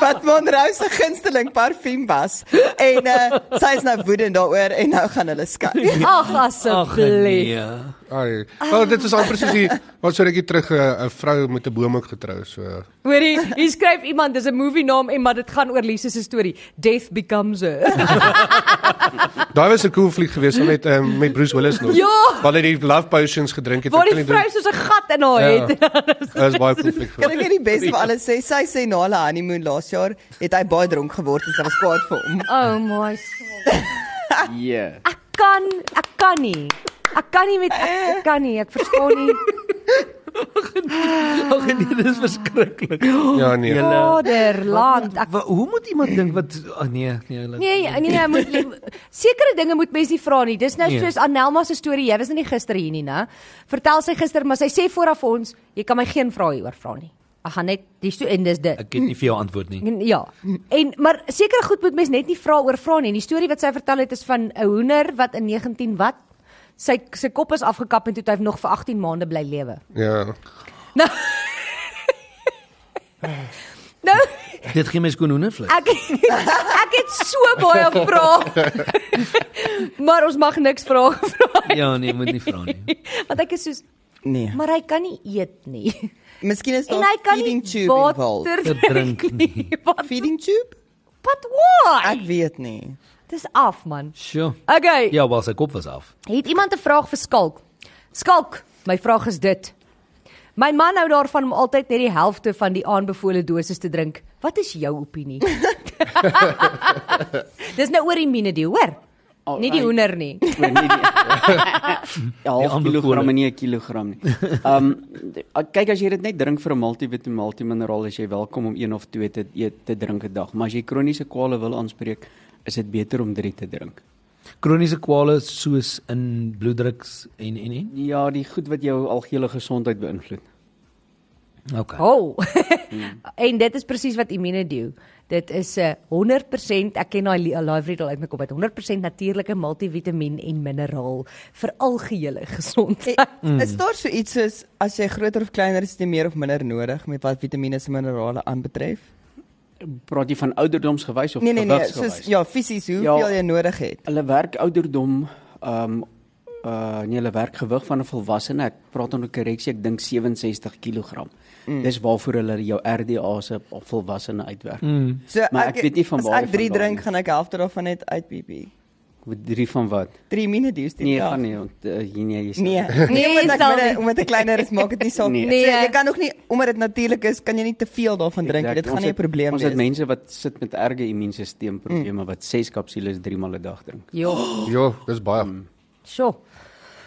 Speaker 3: Wat Monroe se gunsteling parfuum was. En uh, sy is nou woedend daaroor en nou gaan hulle skei.
Speaker 2: Ag
Speaker 4: Ag
Speaker 2: asseblief.
Speaker 4: nee.
Speaker 6: Ai.
Speaker 2: Ah.
Speaker 6: Wel dit is al presies die wat so rukkie terug 'n uh, vrou met 'n boom ook getrou so.
Speaker 2: Hoorie, hier skryf iemand, dis 'n movie naam en maar dit gaan oor Lise se storie. Death becomes her.
Speaker 6: Daai was 'n cool fliek geweest saam met um, met Bruce Willis nog.
Speaker 2: Ja.
Speaker 6: Waar hy die love potions gedrink het.
Speaker 2: Waar
Speaker 6: ek
Speaker 2: die
Speaker 6: kan nie
Speaker 2: vrou soos 'n gat in haar
Speaker 6: Ja.
Speaker 2: het.
Speaker 6: doen- Dit is baie cool fliek.
Speaker 3: Kan
Speaker 6: geweest.
Speaker 3: ek net die beste vir alles sê? Sy sê na hulle honeymoon laas jaar het hy baie dronk geword en sy was kwaad vir hom.
Speaker 2: Oh my. God.
Speaker 5: Yeah.
Speaker 2: Ek kan, ek kan nie. Ek kan nie met ek, ek kan nie. Ek verstaan nie.
Speaker 4: Ag nee, dis verskriklik.
Speaker 6: Ja nee.
Speaker 4: Julle-
Speaker 2: Vaderland. Ek
Speaker 4: Wa- Hoe moet iemand dink wat ag nee, nee, hulle
Speaker 2: Nee, nee, nee, jy moet jy- sekere dinge moet mens nie vra nie. Dis nou
Speaker 4: Nee.
Speaker 2: soos Anelma se storie. Jy was nou nie gister hier nie, né? Vertel sy gister, maar sy sê vooraf vir ons, jy kan my geen vrae hieroor vra nie. Ek gaan net dis so en dis dit.
Speaker 4: Ek het nie vir jou antwoord nie.
Speaker 2: En- Ja. En maar sekere goed moet mens net nie vra oor vra nie. En die storie wat sy vertel het is van 'n hoender wat in 19 wat sy sy kop is afgekap en toe het hy nog vir 18 maande bly lewe.
Speaker 6: Ja.
Speaker 2: Nou Nou
Speaker 4: Dit gee my skoon hoendervleis.
Speaker 2: Ek ek het so baie vrae. maar ons mag niks vra gevra nie,
Speaker 4: Ja nee, moet nie vra nie.
Speaker 2: want ek is soos
Speaker 3: Nee.
Speaker 2: maar hy kan nie eet nie.
Speaker 3: Miskien is
Speaker 2: en
Speaker 3: daar
Speaker 2: hy kan nie
Speaker 3: feeding tube involved.
Speaker 2: water
Speaker 4: Te drink nie.
Speaker 2: Wat
Speaker 3: Feeding tube?
Speaker 2: wat why?
Speaker 3: Ek weet nie.
Speaker 2: Dis af man.
Speaker 4: Sjoe.
Speaker 2: Okay.
Speaker 4: Ja, was sy kop was af.
Speaker 2: Het iemand 'n vraag vir Skalk? Skalk, my vraag is dit. My man hou daarvan om altyd net die helfte van die aanbevole dosis te drink. Wat is jou opinie? Dis nou oor die mine die, hoor?
Speaker 5: Alright.
Speaker 2: Nie die hoender nie.
Speaker 5: Nee, nee, nee. Ja, half
Speaker 4: aanbevole.
Speaker 5: kilogram en nie 'n kilogram nie. Ehm um, kyk as jy dit net drink vir 'n multivitamiin, multiminerale, is jy welkom om een of twee te eet te drink 'n dag, maar as jy kroniese kwale wil aanspreek, is dit beter om 3 te drink.
Speaker 4: Kroniese kwale soos in bloeddruks en en en.
Speaker 5: Ja, die goed wat jou algehele gesondheid beïnvloed.
Speaker 4: OK.
Speaker 2: Oh. en dit is presies wat Imine doen. Dit is 'n 100% ek ken daai li- live riddle uit my kop uit 100% natuurlike multivitamiin en mineraal vir algehele gesondheid.
Speaker 3: Hey, mm. Is daar so iets soos as jy groter of kleiner is, jy meer of minder nodig met wat vitamiene en minerale aanbetref?
Speaker 5: Praat jy van ouderdomsgewys of
Speaker 3: Nee nee nee,
Speaker 5: gewigsgewys?
Speaker 3: soos ja, fisies hoeveel
Speaker 5: Ja.
Speaker 3: ja. jy nodig het.
Speaker 5: Hulle werk ouderdom ehm um, uh nee, hulle werk gewig van 'n volwassene. Ek praat onder korreksie, ek dink 67 kg. Mm. Dis waarvoor hulle jou RDA se op volwassene uitwerk. Mm.
Speaker 3: So
Speaker 5: Maar ek weet nie van waar
Speaker 3: As
Speaker 5: hy
Speaker 3: ek 3
Speaker 5: vandaan
Speaker 3: drink, gaan ek helfte daarvan net uitpiep.
Speaker 5: Drie van wat?
Speaker 3: 3 minuut
Speaker 5: Nee, ja. gaan nie. want, Uh, hier nee, jy sê.
Speaker 3: Nee, nee,
Speaker 2: jy
Speaker 3: omdat ek
Speaker 2: sal nie.
Speaker 3: minder, omdat ek kleiner is, maak dit nie saak nie.
Speaker 5: Nee.
Speaker 2: Nee.
Speaker 3: So, jy kan ook nie omdat dit natuurlik is, kan jy nie te veel daarvan drink nie. Dit gaan nie 'n probleem
Speaker 5: Ons het
Speaker 3: wees.
Speaker 5: mense wat sit met erge immuunstelselprobleme mm. wat 6 kapsules 3 maal 'n dag drink.
Speaker 2: Jo,
Speaker 6: Ja, dis baie.
Speaker 2: sjo.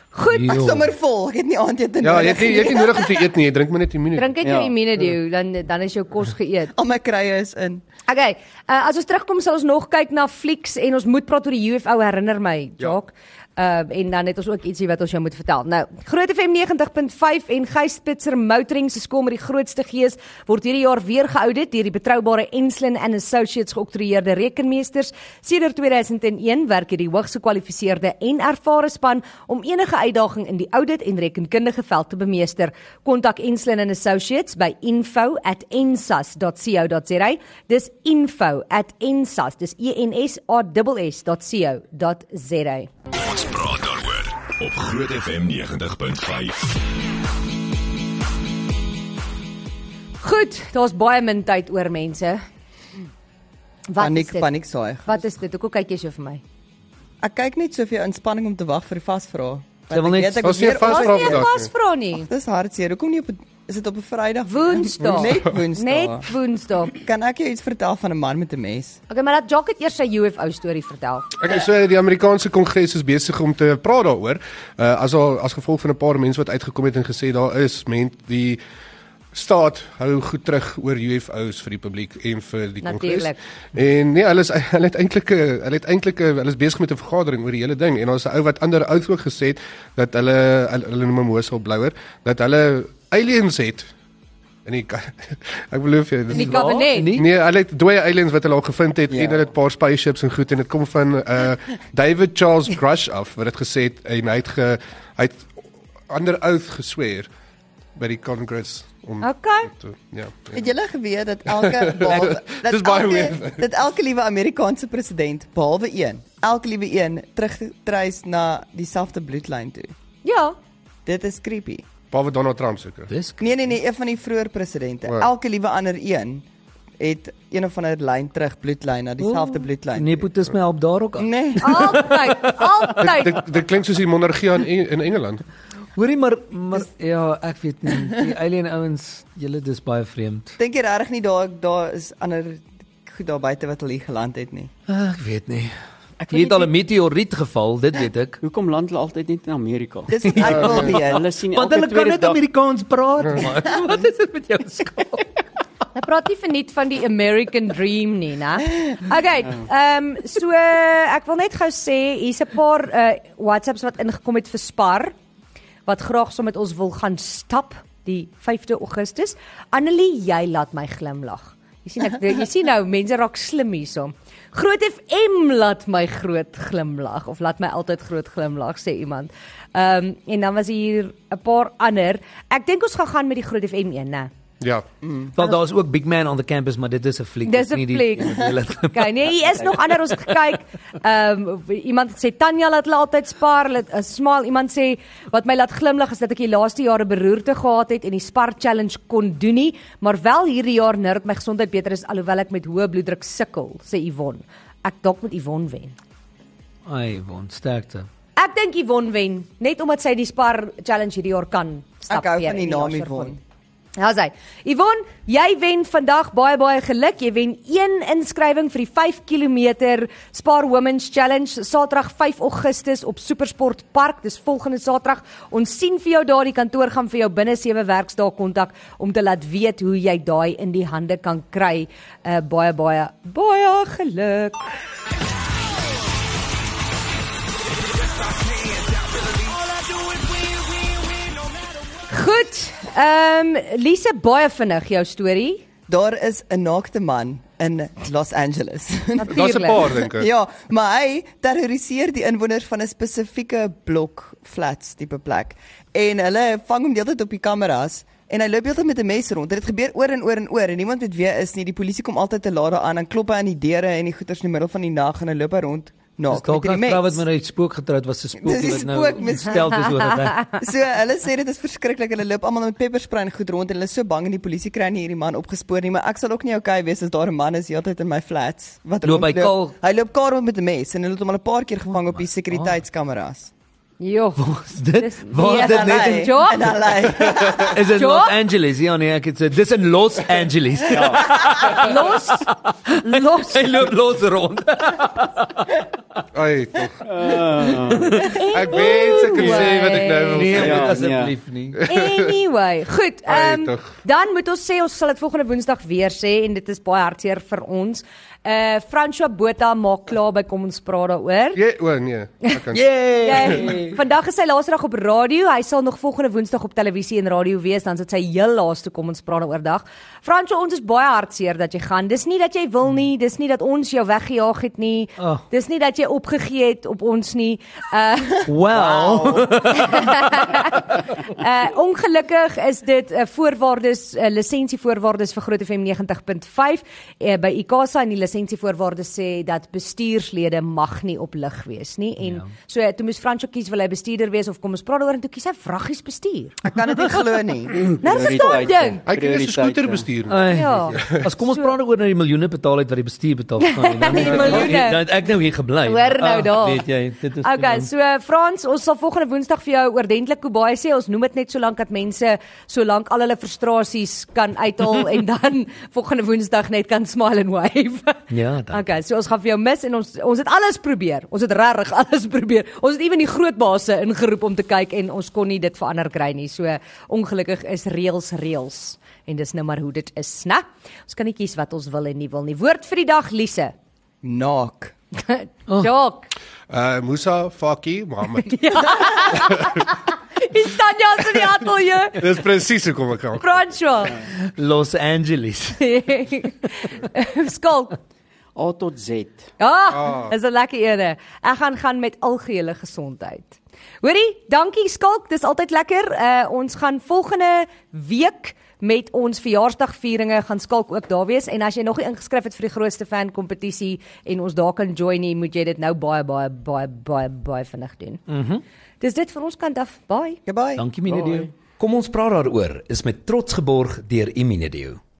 Speaker 2: Goed.
Speaker 3: Ek sommer vol, ek het nie aandete
Speaker 6: Ja, jy
Speaker 3: nodig.
Speaker 6: het nie, jy het nie nodig om te eet nie, jy drink maar net 'n minuut.
Speaker 2: Drink net jou
Speaker 5: Ja.
Speaker 2: Imine doen dan dan is jou kos geëet.
Speaker 3: Al my krye is in.
Speaker 2: Ja. Okay, uh, as ons terugkom sal ons nog kyk na flieks en ons moet praat oor die UFO herinner my, Jock. Ja. Uh en dan het ons ook ietsie wat ons jou moet vertel. Nou, Groot FM 90.5 en Gys Spitzer Motoring se skool met die grootste gees word hierdie jaar weer geaudit deur die betroubare Enslin and Associates geoktroeëerde rekenmeesters. Sedert 2001 werk hierdie hoogs gekwalifiseerde en ervare span om enige uitdaging in die audit en rekenkundige veld te bemeester. Kontak Enslin and Associates by info@ensas.co.za. Dis info@ensas. Dis E N S A S .co.za.
Speaker 1: Ons praat daaroor op Groot FM 90.5.
Speaker 2: Goed, daar's baie min tyd oor mense. Wat
Speaker 3: Paniek
Speaker 2: is dit?
Speaker 3: paniek saai.
Speaker 2: Wat is dit? Hoekom kyk jy so vir my?
Speaker 3: Ek kyk net so vir jou inspanning om te wag vir die vasvra.
Speaker 4: wil net-
Speaker 6: Ons weer
Speaker 2: Ons
Speaker 6: vasvra
Speaker 2: het nie 'n
Speaker 6: vandag. nie.
Speaker 2: vasvra nie.
Speaker 3: Dis hartseer. Hoekom nie op 'n- is dit op 'n Vrydag?
Speaker 2: Woensdag.
Speaker 3: Net Woensdag.
Speaker 2: Net Woensdag.
Speaker 3: Kan ek jou iets vertel van 'n man met 'n mes?
Speaker 2: Okay, maar laat Jock het eers sy UFO storie vertel.
Speaker 6: Ek sê die Amerikaanse Kongres is besig om te praat daaroor. Uh as al as gevolg van 'n paar mense wat uitgekom het en gesê daar is men die staat hou goed terug oor UFO's vir die publiek en vir die kongres.
Speaker 2: Natuurlijk.
Speaker 6: En nee, hulle is hulle het eintlik 'n hulle het eintlik 'n- hulle is besig met 'n vergadering oor die hele ding en daar's 'n ou wat ander ou ook gesê het dat hulle hulle, hulle noem hom Hoesel Blouer dat hulle aliens het in die ka- ek beloof jou
Speaker 2: In
Speaker 6: dit
Speaker 2: die
Speaker 6: is
Speaker 2: kabinet.
Speaker 4: nie?
Speaker 6: Nee, hulle het dooie aliens wat hulle al gevind het
Speaker 3: Ja.
Speaker 6: yeah. en hulle het 'n paar spaceships en goed en dit kom van uh David Charles Grush af wat dit gesê het en hy het ge, hy het ander oath gesweer by die Congress om
Speaker 2: Okay.
Speaker 6: te, ja. ja.
Speaker 3: Het julle geweet dat elke behalwe dat
Speaker 6: Nee, Dis baie
Speaker 3: elke-
Speaker 6: weird.
Speaker 3: dat elke liewe Amerikaanse president behalwe een, elke liewe een terugtreis na dieselfde bloedlyn toe.
Speaker 2: Ja.
Speaker 3: Dit is creepy.
Speaker 6: Behalwe Donald Trump seker.
Speaker 4: Dis
Speaker 3: Nee nee nee, een van die vroeë presidente.
Speaker 6: Wow.
Speaker 3: Elke liewe ander een het een of ander lyn terug bloedlyn na dieselfde bloedlyn.
Speaker 6: Nee.
Speaker 3: toe.
Speaker 4: Nepotisme Nee, help daar ook aan.
Speaker 3: Nee.
Speaker 2: Altyd, altyd.
Speaker 6: Dit dit klink soos die monargie in Eng- in Engeland.
Speaker 4: Hoorie maar maar ja, ek weet nie. Die alien ouens, julle dis baie vreemd.
Speaker 3: Dink jy regtig nie daar daar is ander goed daar buite wat al hier geland het nie?
Speaker 4: Ek weet nie.
Speaker 5: Ek
Speaker 4: Hier het al 'n meteoriet geval, dit weet ek.
Speaker 5: Hoekom land hulle altyd net in Amerika?
Speaker 3: Dis wat ek wil
Speaker 4: Ja.
Speaker 3: weet.
Speaker 5: Hulle sien
Speaker 4: Want
Speaker 5: elke
Speaker 4: hulle kan
Speaker 5: tweede
Speaker 4: net
Speaker 5: dag
Speaker 4: Amerikaans praat, man. Wat is dit met jou skaal?
Speaker 2: Hy Nou praat nie verniet van die American Dream nie, né? Okay, ehm um, so eh, ek wil net gou sê hier's 'n paar uh, WhatsApps wat ingekom het vir Spar wat graag saam so met ons wil gaan stap die 5de Augustus. Annelie, jy laat my glimlag. Jy sien ek jy sien nou mense raak slim hierso. Groot FM laat my groot glimlag of laat my altyd groot glimlag sê iemand. Ehm um, en dan was hier 'n paar ander. Ek dink ons gaan gaan met die Groot FM een, né?
Speaker 6: Ja.
Speaker 4: Want daar's ook Big Man on the campus, maar dit is 'n fliek.
Speaker 2: Dis 'n fliek. Okay, nee, hier is nog ander ons gekyk. Ehm um, iemand het gesê Tanya laat hulle altyd spaar. Hulle uh, smal iemand sê wat my laat glimlag is dat ek die laaste jare beroerte gehad het en die spar challenge kon doen nie, maar wel hierdie jaar nou dat my gesondheid beter is alhoewel ek met hoë bloeddruk sukkel, sê Yvonne. Ek dalk moet Yvonne wen.
Speaker 4: Ai, won sterkte.
Speaker 2: Ek dink Yvonne wen, net omdat sy die spar challenge hierdie jaar kan stap.
Speaker 3: Ek hou
Speaker 2: weer
Speaker 3: van die
Speaker 2: en
Speaker 3: naam
Speaker 2: jaar sal
Speaker 3: Yvonne.
Speaker 2: gaan. Ja, sy. Yvonne, jy wen vandag baie baie geluk. Jy wen een inskrywing vir die 5 km Spar Women's Challenge Saterdag 5 Augustus op Supersport Park. Dis volgende Saterdag. Ons sien vir jou daar. Die kantoor gaan vir jou binne 7 werksdae kontak om te laat weet hoe jy daai in die hande kan kry. Uh, baie baie baie geluk. Goed. Ehm um, Lise baie vinnig jou storie.
Speaker 3: Daar is 'n naakte man in Los Angeles.
Speaker 6: Daar's 'n paar dink ek.
Speaker 3: ja, maar hy terroriseer die inwoners van 'n spesifieke blok flats tipe plek. En hulle vang hom deeltyd op die kameras en hy loop heeltyd met 'n mes rond. Dit gebeur oor en oor en oor en niemand weet wie hy is nie. Die polisie kom altyd te laat daaraan en klop hy aan die deure en die goeters in die middel van die nag en hy loop hy rond.
Speaker 4: Dis
Speaker 3: Nou,
Speaker 4: dalk 'n vrou wat
Speaker 3: met
Speaker 4: Ja, met 'n spook getroud was, 'n spook
Speaker 3: Dis die
Speaker 4: wat nou
Speaker 3: spook mis-
Speaker 4: stel dis oor dit.
Speaker 3: so hulle sê dit is verskriklik. Hulle loop almal met pepperspray en goed rond en hulle is so bang en die polisie kry nie hierdie man opgespoor nie, maar ek sal ook nie okay wees as daar 'n man is heeltyd in my flats wat
Speaker 4: Loop hy kaal? Oh.
Speaker 3: rondloop. Hy loop kaal rond met 'n mes en hulle het hom al 'n paar keer gevang op die sekuriteitskameras.
Speaker 2: Jo.
Speaker 4: Is dit?
Speaker 2: Ja,
Speaker 4: Waar dit net in-
Speaker 2: job?
Speaker 3: En hulle
Speaker 4: is in
Speaker 2: Job?
Speaker 4: Los Angeles. Ja nee, ek het sê dis in Los Angeles.
Speaker 2: Los. Los.
Speaker 4: Hy loop los rond.
Speaker 6: Ai, tog. Ek weet ek kan sê wat ek nou wil
Speaker 4: Nee,
Speaker 6: sê.
Speaker 4: moet
Speaker 5: Ja,
Speaker 4: asseblief nie.
Speaker 2: Anyway, goed.
Speaker 6: Ai,
Speaker 2: Ehm um,
Speaker 6: tog.
Speaker 2: dan moet ons sê ons sal dit volgende Woensdag weer sê en dit is baie hartseer vir ons. Eh uh, François Botha maak klaar by kom ons praat daaroor.
Speaker 6: Ja, o nee. Ek kan
Speaker 4: Ja.
Speaker 2: Jy, vandag is sy laaste dag op radio. Hy sal nog volgende Woensdag op televisie en radio wees, dan sit sy heel laaste kom ons praat daaroor dag. Fransjo, ons is baie hartseer dat jy gaan. Dis nie dat jy wil nie, dis nie dat ons jou weggejaag het nie.
Speaker 4: Oh.
Speaker 2: Dis nie dat jy opgegee het op ons nie. Uh
Speaker 4: Wow.
Speaker 2: Uh ongelukkig is dit eh, 'n uh, voorwaardes uh, lisensievoorwaardes vir Groot FM 90.5 uh, by ICASA en die lisensie lisensievoorwaarde sê dat bestuurslede mag nie op lig wees nie en ja.
Speaker 4: Ja.
Speaker 2: so toe moes Fransjo kies wil hy bestuurder wees of kom ons praat daaroor en toe kies hy vraggies bestuur.
Speaker 3: Ek kan dit nie glo nie.
Speaker 2: Nou verstaan ding.
Speaker 6: Hy kan nie eens 'n skooter
Speaker 5: Prioriteite.
Speaker 6: bestuur nie.
Speaker 4: Ai,
Speaker 2: Ja.
Speaker 4: As kom ons praat oor nou die miljoene betaal uit wat die bestuur betaal gaan nie. Dan
Speaker 2: Die miljoene.
Speaker 4: Dan het ek nou hier gebly.
Speaker 2: Hoor nou
Speaker 4: Ah,
Speaker 2: daar.
Speaker 4: Weet jy, dit is
Speaker 2: Okay, so eh, Frans, ons sal volgende Woensdag vir jou oordentlik Kobaai sê. Ons noem dit net solank dat mense solank al hulle frustrasies kan uithaal en dan volgende Woensdag net kan smile and wave.
Speaker 4: Ja, dan.
Speaker 2: Okay, so ons gaan vir jou mis en ons ons het alles probeer. Ons het regtig alles probeer. Ons het ewen die groot baase ingeroep om te kyk en ons kon nie dit verander kry nie. So ongelukkig is reëls reëls en dis nou maar hoe dit is, né? Ons kan nie kies wat ons wil en nie wil nie. Woord vir die dag, Lise.
Speaker 3: Naak.
Speaker 2: Oh. Jok.
Speaker 6: Uh Musa Faki Mohammed.
Speaker 2: Is Tanya se die ateljee.
Speaker 6: Dis presies hoekom ek al.
Speaker 2: Francois.
Speaker 4: Los Angeles.
Speaker 2: Skalk.
Speaker 5: A tot Z.
Speaker 2: Ah, is 'n lekker ene. Ek gaan gaan E met algehele gesondheid. Hoorie, dankie Skalk, dis altyd lekker. Uh ons gaan volgende week met ons verjaarsdagvieringe gaan Skalk ook daar wees en as jy nog nie ingeskryf het vir die grootste fan kompetisie en ons daar kan join nie, moet jy dit nou baie baie baie baie baie vinnig doen. Mhm. Mm dis dit vir ons kant af. Bye.
Speaker 3: Goodbye.
Speaker 4: Dankie Minedio. Kom ons praat daaroor is met trots geborg deur Iminedio.